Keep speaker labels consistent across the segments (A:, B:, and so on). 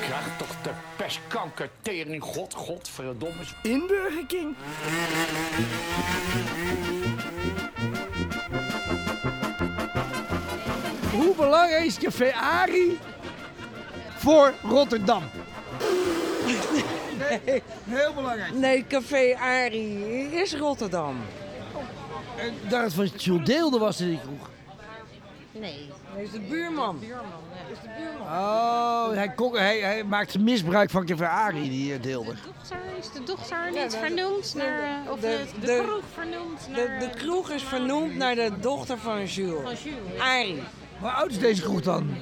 A: Krijg toch de pestkanker tering, god, godverdomme.
B: In Burger King. Hoe belangrijk is Café Ari voor Rotterdam? Nee, heel belangrijk.
C: Nee, Café Ari is Rotterdam.
B: Ik dacht van Jules Deelde was in die kroeg.
C: Nee. Hij is de buurman.
B: Oh, hij, kon- hij, hij maakt misbruik van Café Ari, die eh, Deelde.
D: dochter, is de dochter niet
C: Ja, de-
D: vernoemd
C: de-
D: naar... eh, of
C: de-
D: de, de,
C: de-
D: kroeg vernoemd naar... eh,
C: De, de kroeg is vernoemd naar de dochter van
D: Van
C: Jules.
D: Jules.
C: Ari.
B: Hoe oud is deze kroeg dan?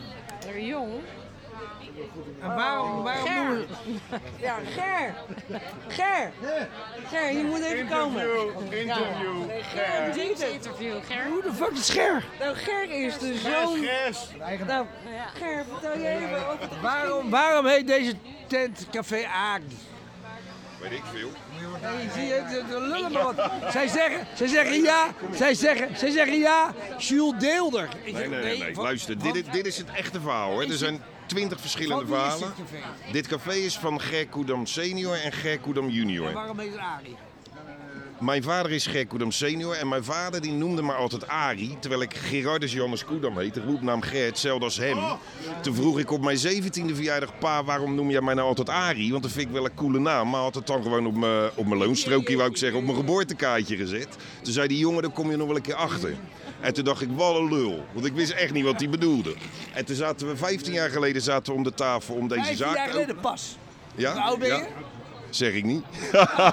D: Haar jong.
B: En waarom, waarom noemen
C: Ger. Ja, Ger. Ger. Ger, je moet even komen.
E: Interview.
C: Ger doet het.
D: Interview, Ger.
B: Hoe de fuck is Ger?
C: Nou, Ger is de zoon.
E: Yes.
C: Nou, Ger, vertel je even over de
B: Waarom, waarom heet deze tent Café Ari?
E: Weet ik veel.
B: Je ziet het, de- de lullen maar wat. Zij zeggen, zij zeggen ja, zij zeggen, zij zeggen ja, Jules Deelder. Ik
E: Nee,
B: zeg,
E: nee, nee. nee.
B: van-
E: Luister,
B: van-
E: dit, is- dit is het echte verhaal. Hè. Er zijn twintig verschillende
B: van wie is
E: verhalen.
B: dit café?
E: Dit café is van Ger Koedam senior en Ger Koedam junior.
B: Waarom heet het Ari?
E: Mijn vader is Ger Koedam senior en mijn vader die noemde me altijd Ari. Terwijl ik Gerardus Jannes Koedam heet. De roepnaam Ger, hetzelfde als hem. Toen vroeg ik op mijn 17e verjaardag, pa, waarom noem jij mij nou altijd Ari? Want dat vind ik wel een coole naam. Maar had het dan gewoon op mijn, op mijn loonstrookje, wou ik zeggen, op mijn geboortekaartje gezet. Toen zei die jongen, daar kom je nog wel een keer achter. En toen dacht ik, wat een lul. Want ik wist echt niet wat hij bedoelde. En toen zaten we, 15 jaar geleden zaten we om de tafel om deze
B: 15
E: zaak
B: jaar
E: te
B: geleden pas.
E: ja?
B: Hoe oud ben je?
E: Ja. Zeg ik niet.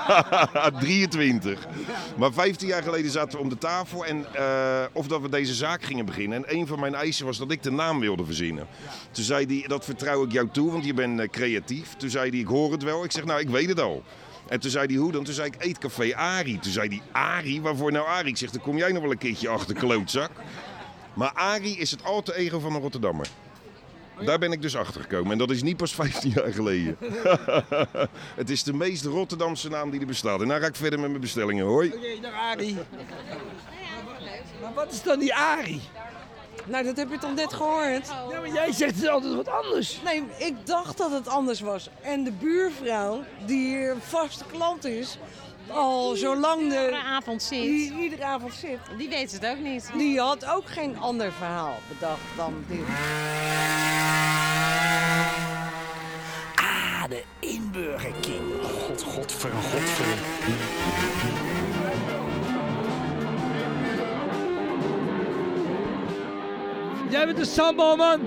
E: 23. Maar 15 jaar geleden zaten we om de tafel en eh, of dat we deze zaak gingen beginnen. En een van mijn eisen was dat ik de naam wilde verzinnen. Toen zei hij, dat vertrouw ik jou toe, want je bent eh, creatief. Toen zei hij, ik hoor het wel. Ik zeg, nou, ik weet het al. En toen zei hij, hoe dan? Toen zei ik, eetcafé Ari. Toen zei hij, Ari? Waarvoor nou Ari? Ik zeg, dan kom jij nog wel een keertje achter, klootzak. Maar Ari is het alter ego van een Rotterdammer. Daar ben ik dus achter gekomen. En dat is niet pas 15 jaar geleden. het is de meest Rotterdamse naam die er bestaat. En dan ga ik verder met mijn bestellingen. Hoi.
B: Oké, dag Ari. Maar wat is dan die Ari?
C: Nou, dat heb je toch net gehoord?
B: Ja, maar jij zegt het altijd wat anders.
C: Nee, ik dacht dat het anders was. En de buurvrouw, die hier een vaste klant is, al zolang
D: Iedere
C: de, Hm.
D: avond zit.
C: die iedere avond zit,
D: Die weet het ook niet.
C: die had ook geen ander verhaal bedacht dan dit.
B: Ah, de Inburger King.
A: God, godver, godver.
B: Jij bent een sambalman.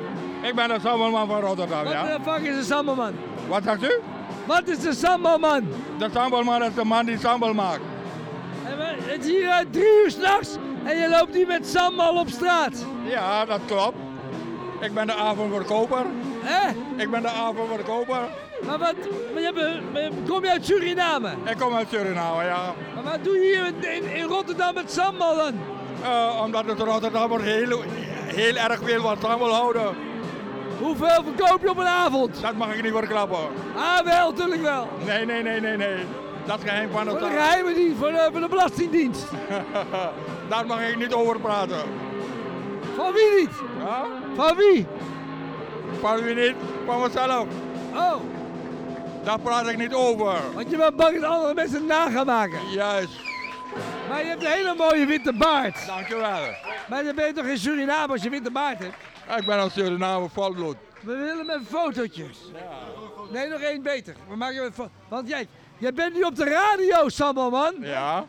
F: Ik ben de sambalman van Rotterdam,
B: Wat
F: ja.
B: de fuck is een sambalman?
F: Wat zegt u?
B: Wat is een sambalman?
F: De sambalman is de man die sambal maakt.
B: En we- Het is hier eh, drie uur s'nachts en je loopt nu met sambal op straat.
F: Ja, dat klopt. Ik ben de avondverkoper.
B: Hè?
F: Ik ben de avondverkoper.
B: Maar wat, maar je hebt- maar kom je uit Suriname?
F: Ik kom uit Suriname, ja.
B: Maar wat doe je hier in, in, in Rotterdam met sambal dan?
F: Eh, omdat het Rotterdammers heel, heel erg veel van sambal houden.
B: Hoeveel verkoop je op een avond?
F: Dat mag ik niet verklappen.
B: Ah wel, tuurlijk wel.
F: Nee, nee, nee, nee, nee. Dat geheim van
B: Voor
F: het
B: de geheime dienst, voor de, voor de belastingdienst.
F: Daar mag ik niet over praten.
B: Van wie niet?
F: Ja?
B: Van wie?
F: Van wie niet? Van mezelf.
B: Oh,
F: Daar praat ik niet over.
B: want je bent bang dat andere mensen het na gaan maken.
F: Juist.
B: Maar je hebt een hele mooie witte baard.
F: Dankjewel.
B: Maar dan ben je toch in Suriname als je witte baard hebt?
F: Ik ben uit Suriname volbloed.
B: We willen met fotootjes. Nee, nog één beter. We maken een fo- Want jij, jij bent nu op de radio, Sammelman.
F: Ja,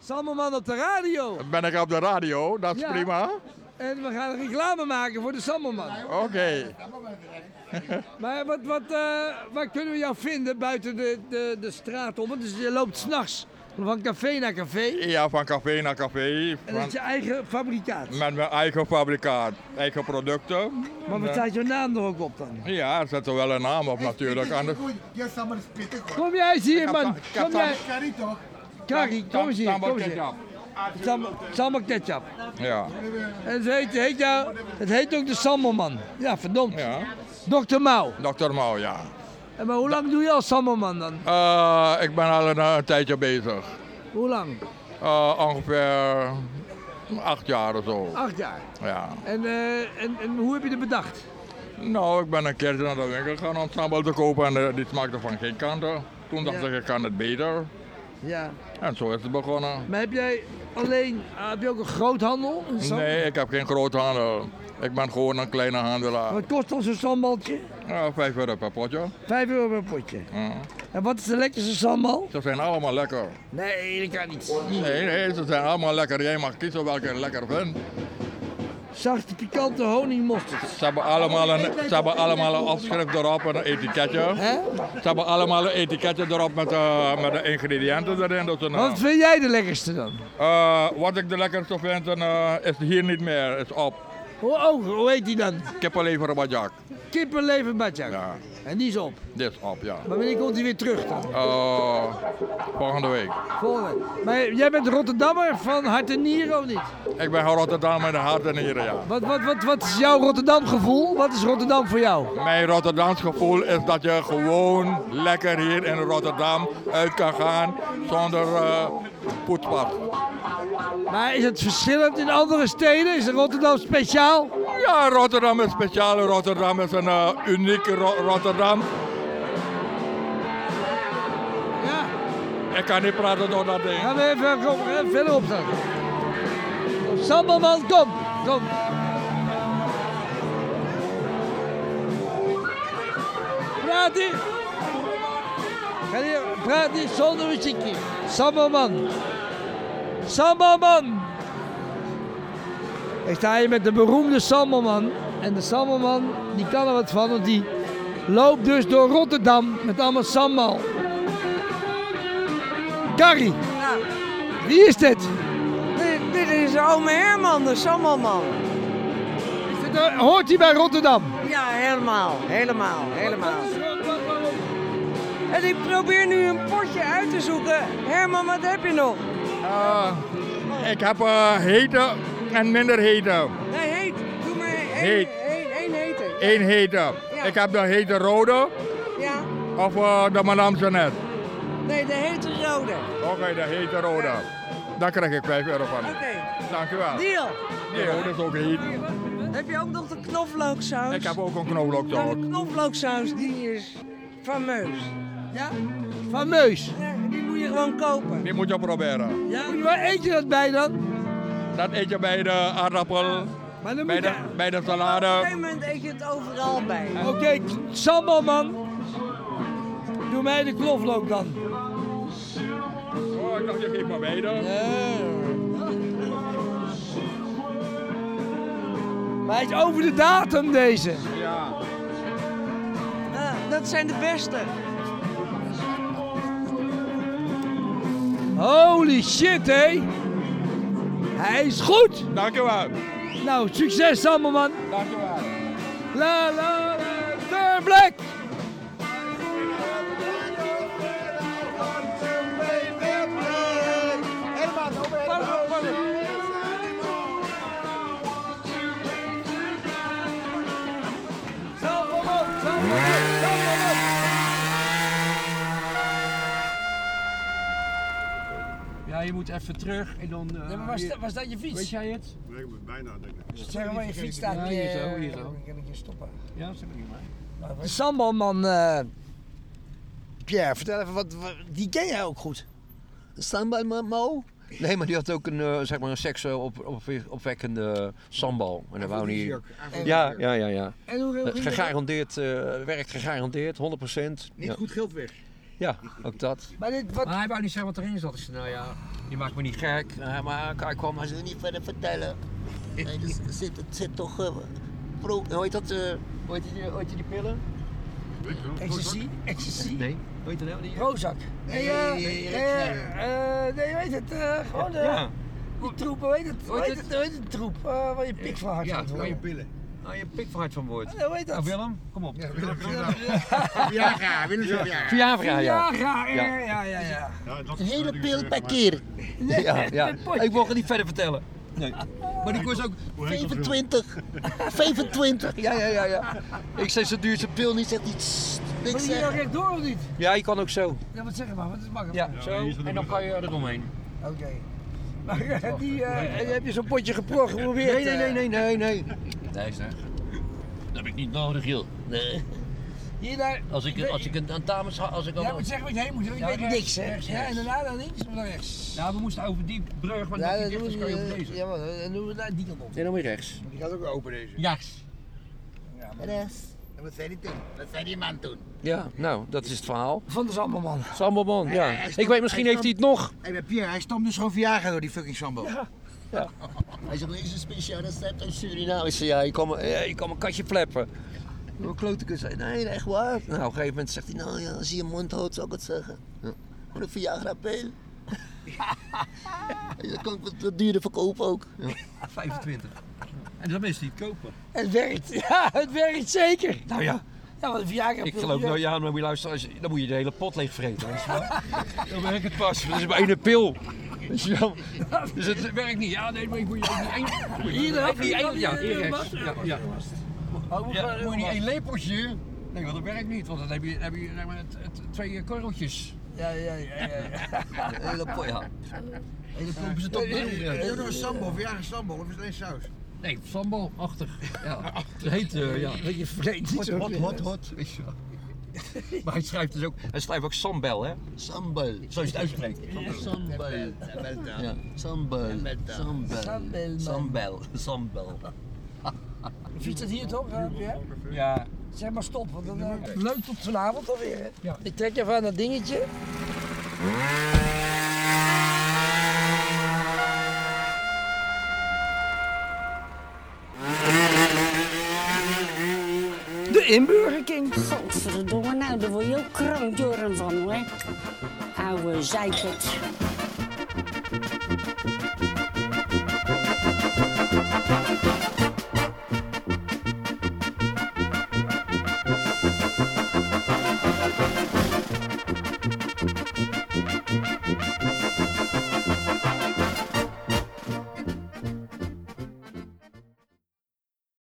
B: Sammelman op de radio.
F: dan ben ik op de radio, dat is
B: Ja.
F: prima.
B: En we gaan reclame maken voor de Sammelman.
F: Oké.
B: Maar wat, wat, eh, waar kunnen we jou vinden buiten de, de, de straat om? Want dus je loopt s'nachts van café naar café.
F: Ja, van café naar café.
B: En dat
F: van-
B: is je eigen fabrikaat.
F: met mijn eigen fabrikaat, eigen producten.
B: Maar wat staat jouw naam er ook op dan?
F: Ja, er zit er wel een naam op natuurlijk. Anders...
B: Kom jij eens hier, man.
F: Ik heb
B: Kom
F: sam-
B: jij. Kari, kom eens hier.
F: Sambal
B: Kom eens hier.
F: ketchup.
B: Sam- Sambal ketchup.
F: Ja,
B: En het heet, heet jou, het heet ook de Sammelman. Ja, verdomd.
F: ja.
B: Dr. Mouw.
F: Dr. Mouw, ja.
B: En Maar hoe lang doe je al Sammelman dan?
F: Eh, ik ben al een, een tijdje bezig.
B: Hoe lang?
F: Eh, ongeveer acht jaar of zo.
B: Acht jaar.
F: Ja.
B: En, eh, en, en hoe heb je het bedacht?
F: Nou, ik ben een keertje naar de winkel gegaan om sambal te kopen en eh, die smaakte van geen kant. eh. Toen dacht
B: Ja.
F: ik, ik kan het beter.
B: Ja.
F: En zo is het begonnen.
B: Maar heb jij alleen, ah, heb je ook een groothandel? Een sambal?
F: Nee, ik heb geen groothandel. Ik ben gewoon een kleine handelaar.
B: Wat kost ons een sambaltje?
F: Ja, vijf euro per potje.
B: Vijf euro per potje.
F: Ja.
B: En wat is de lekkerste sambal?
F: Ze zijn allemaal lekker.
B: Nee, dat kan niet.
F: Nee, nee, ze zijn allemaal lekker. Jij mag kiezen welke je lekker vindt.
B: Zachte pikante honingmosterd.
F: Ze hebben allemaal een, ze hebben allemaal een opschrift erop en een etiketje.
B: Hè?
F: Ze hebben allemaal een etiketje erop met, eh, met de ingrediënten erin. Dus een, eh,
B: Wat vind jij de lekkerste dan?
F: eh, wat ik de lekkerste vind, en, eh, is hier niet meer. Is op.
B: Hoe, oh, hoe heet die dan?
F: Kippenlever badjak.
B: Kippenleven badjak.
F: Ja,
B: En die is op.
F: dit is op, ja.
B: Maar wanneer komt die weer terug dan?
F: Eh, volgende week.
B: Volgende. Maar jij bent Rotterdammer van hart en nieren of niet?
F: Ik ben van Rotterdam met de hart en nieren, ja.
B: Wat, wat, wat, wat is jouw Rotterdam gevoel? Wat is Rotterdam voor jou?
F: Mijn Rotterdams gevoel is dat je gewoon lekker hier in Rotterdam uit kan gaan zonder eh, voetpad.
B: Maar is het verschillend in andere steden? Is Rotterdam speciaal?
F: Ja, Rotterdam is speciaal. Rotterdam is een eh, unieke Ro- Rotterdam.
B: Ja.
F: Ik kan niet praten door dat ding.
B: Gaan we even kom, eh, verder op dan. Sambalman, kom. Kom. Praat niet. Ga hier, praat niet zonder muziekje. Sambalman. Sambalman. Ik sta hier met de beroemde Sambalman. En de Sambalman, die kan er wat van, want die loopt dus door Rotterdam met allemaal sambal. Carrie,
C: Nou,
B: wie is dit?
C: dit, dit is ome Herman, de Sammelman.
B: Eh, Hoort hij bij Rotterdam?
C: Ja, helemaal, helemaal, helemaal. En ik probeer nu een potje uit te zoeken. Herman, wat heb je nog?
F: Eh, ik heb eh, hete en minder hete.
C: Nee, heet. Doe maar één
F: Heet.
C: één- één hete.
F: Eén hete. Ik heb de hete rode
C: Ja.
F: of eh, de Madame Zanet.
C: Nee, de hete rode.
F: Oké, de hete rode. Daar krijg ik 5 euro van.
C: Oké,
F: Dank u wel.
C: deal.
F: Die rode is ook heet.
C: Heb je ook nog de knoflooksaus?
F: Ik heb ook een knoflook
C: Ja,
F: dood.
C: de knoflooksaus, die is fameus. Ja?
B: Van Meus.
C: Ja, Die moet je gewoon kopen.
F: Die moet je proberen.
B: Ja. Waar eet je dat bij dan?
F: Dat eet je bij de aardappel,
B: Maar dan
F: bij
B: moet
F: de,
B: je...
F: bij de
C: Op een
F: salade.
C: gegeven moment eet je het overal bij.
B: Oké, sambalman. Doe mij de knoflook dan.
F: Oh, ik dacht je geeft me beide.
B: Maar hij is over de datum deze.
F: Ja.
C: Ja, Eh, dat zijn de beste.
B: Holy shit, hé. Hij is goed.
F: Dank u wel.
B: Nou, succes sambalman.
F: Dank u wel.
B: La la la, Sir Black.
G: Ja, je moet even terug en dan. eh, weer-
B: was dat je
G: Weet jij het?
C: Zeg maar, je fiets staat
G: Ja, hier zo, hier zo.
C: Kan ik je stoppen?
G: Ja, zeg maar. niet, maar.
B: De sambalman. eh,
H: Pierre, vertel even, wat, wat- die ken jij ook goed. Samba Mo? Nee, maar die had ook een, eh, zeg maar een seks op, op, opwekkende sambal. En daar wou niet. Ja, ja, ja, ja.
B: en hoe, hoe
H: Eh,
B: ging dat?
H: Gegarandeerd, eh, werkt gegarandeerd, 100%.
G: Niet
H: Ja,
G: goed geld weg.
H: ja, ook dat.
B: Maar dit, wat,
G: Maar hij wou niet zeggen wat erin zat. Ik zei, nou ja, je maakt me niet gek. Eh, maar hij kwam, hij zei, niet verder vertellen. Nee, dus er zit, het zit toch... eh, pro, hoe heet dat? eh, hoe, heet die, hoe heet die pillen? Ecstasy? Ecstasy?
H: Nee, weet je nou? Die...
B: Prozac. Nee, eh, eh, eh, nee, weet het, eh, gewoon de,
G: Ja.
B: die troep, weet het,
G: Hoe heet
B: weet het, weet het, troep, eh, waar je pik van hard
G: Ja,
B: gaat
G: waar je
B: worden.
G: pillen. Ah, je pikvaart van woord.
B: Ja, hoe heet dat?
G: Nou, Willem, kom op. Viagra, ja.
B: Viagra, eh,
H: Ja.
B: ja, ja, ja.
G: Hele pil per keer.
H: Ja, ja.
G: Ik mocht het niet verder vertellen. Nee. Maar die kost ook 25. 25.
H: Ja, ja, ja, ja. Ik zei, ze duurt zijn pil niet. Zegt iets.
B: Moet je hier nou rechtdoor of niet?
H: Ja, je kan ook zo.
B: Ja, wat zeg maar, wat is makkelijk.
G: Ja, zo. En dan kan je eromheen.
B: Oké. Maar eh, die, eh, heb je zo'n potje geprocht, geprobeerd?
H: Nee, nee, nee, nee, nee, nee.
G: Nee, zeg.
B: Dat heb ik niet nodig, joh. Nee.
A: Hier daar.
B: Als ik, als ik een, een dames... Als ik
A: Ja,
G: Oh.
B: al,
A: moet zeggen wat je heen moet, want ik
B: Ja,
A: weet
B: rechts,
A: niks, hè?
B: rechts,
A: Ja,
B: rechts.
A: en daarna naar links of naar rechts?
B: nou, we moesten over die brug, want
A: Ja,
B: dat
A: dat
B: die
A: doen
B: dicht is,
A: we,
B: kan je
A: eh,
B: oplezen.
A: ja, maar dan doen we daar die kant op.
B: En dan weer rechts.
A: Die gaat ook open, deze.
B: Ja.
A: Ja, maar... En wat zei die toen? Wat zei die man toen?
I: Ja, nou, dat is het verhaal.
A: Van de Zamberman.
I: Samboman, ja.
A: hij
I: Ik
A: stond-
I: weet, misschien
A: hij
I: heeft hij het nog.
A: Hé, hey, Pierre, hij stamt dus gewoon verjagen door die fucking Sambo.
B: Hij zegt, is een speciaal recept uit Suriname.
I: Ik zei, ja, je kan, me- ja, je kan mijn katje flappen. Mijn klote kus zei, nee, echt waar. Nou, op een gegeven moment zegt hij, nou ja, als je je mond houdt, zou ik het zeggen. Ja. Voor een Viagra-pil.
B: Dat kan ik wat duurder verkopen ook.
A: 25. En dan is hij het kopen. Het werkt, ja, het werkt zeker. Nou ja. Ja, wat een verjaardag.
B: Ik geloof nou, ja, maar moet je luisteren, als je- dan moet je de hele pot leeg vreten. anders wel. Dan werkt het pas, dat is maar één pil. Weet je wel? Dus het werkt niet. Ja, nee, maar ik moet je ook niet één... Hier, ook niet één... Ja, hier rechts. Ja, ja.
A: Oh,
B: Ja, moet je niet één lepeltje? Nee, want dat werkt niet, want dan heb je, dan heb je zeg maar, het, het- twee eh, korreltjes.
A: Ja, ja, ja, ja. ja.
B: Hele pot, ja. Hele pompen ze toch
A: Doe nog een sambal, verjaardag sambal of is het alleen saus?
B: Nee, sambalachtig. Ja. Het heet, eh, ja.
A: Weet je, vergeet niet zo.
B: Hot, hot, hot. Weet je wel. Maar hij schrijft dus ook, hij schrijft ook sambel, hè? Sambel. Zo is het uitspreekt. Sambel. Ja. Sambel. Sambel. Sambel. Sambel.
A: Fiets het hier toch? eh, Pierre?
B: Ja.
A: Zeg maar stop, want dan eh, leuk tot vanavond alweer. hè? Ik trek even aan dat dingetje. De inburgering.
J: Godverdomme, nou, daar word je ook krankjoren van, hoor. Oude zeikert.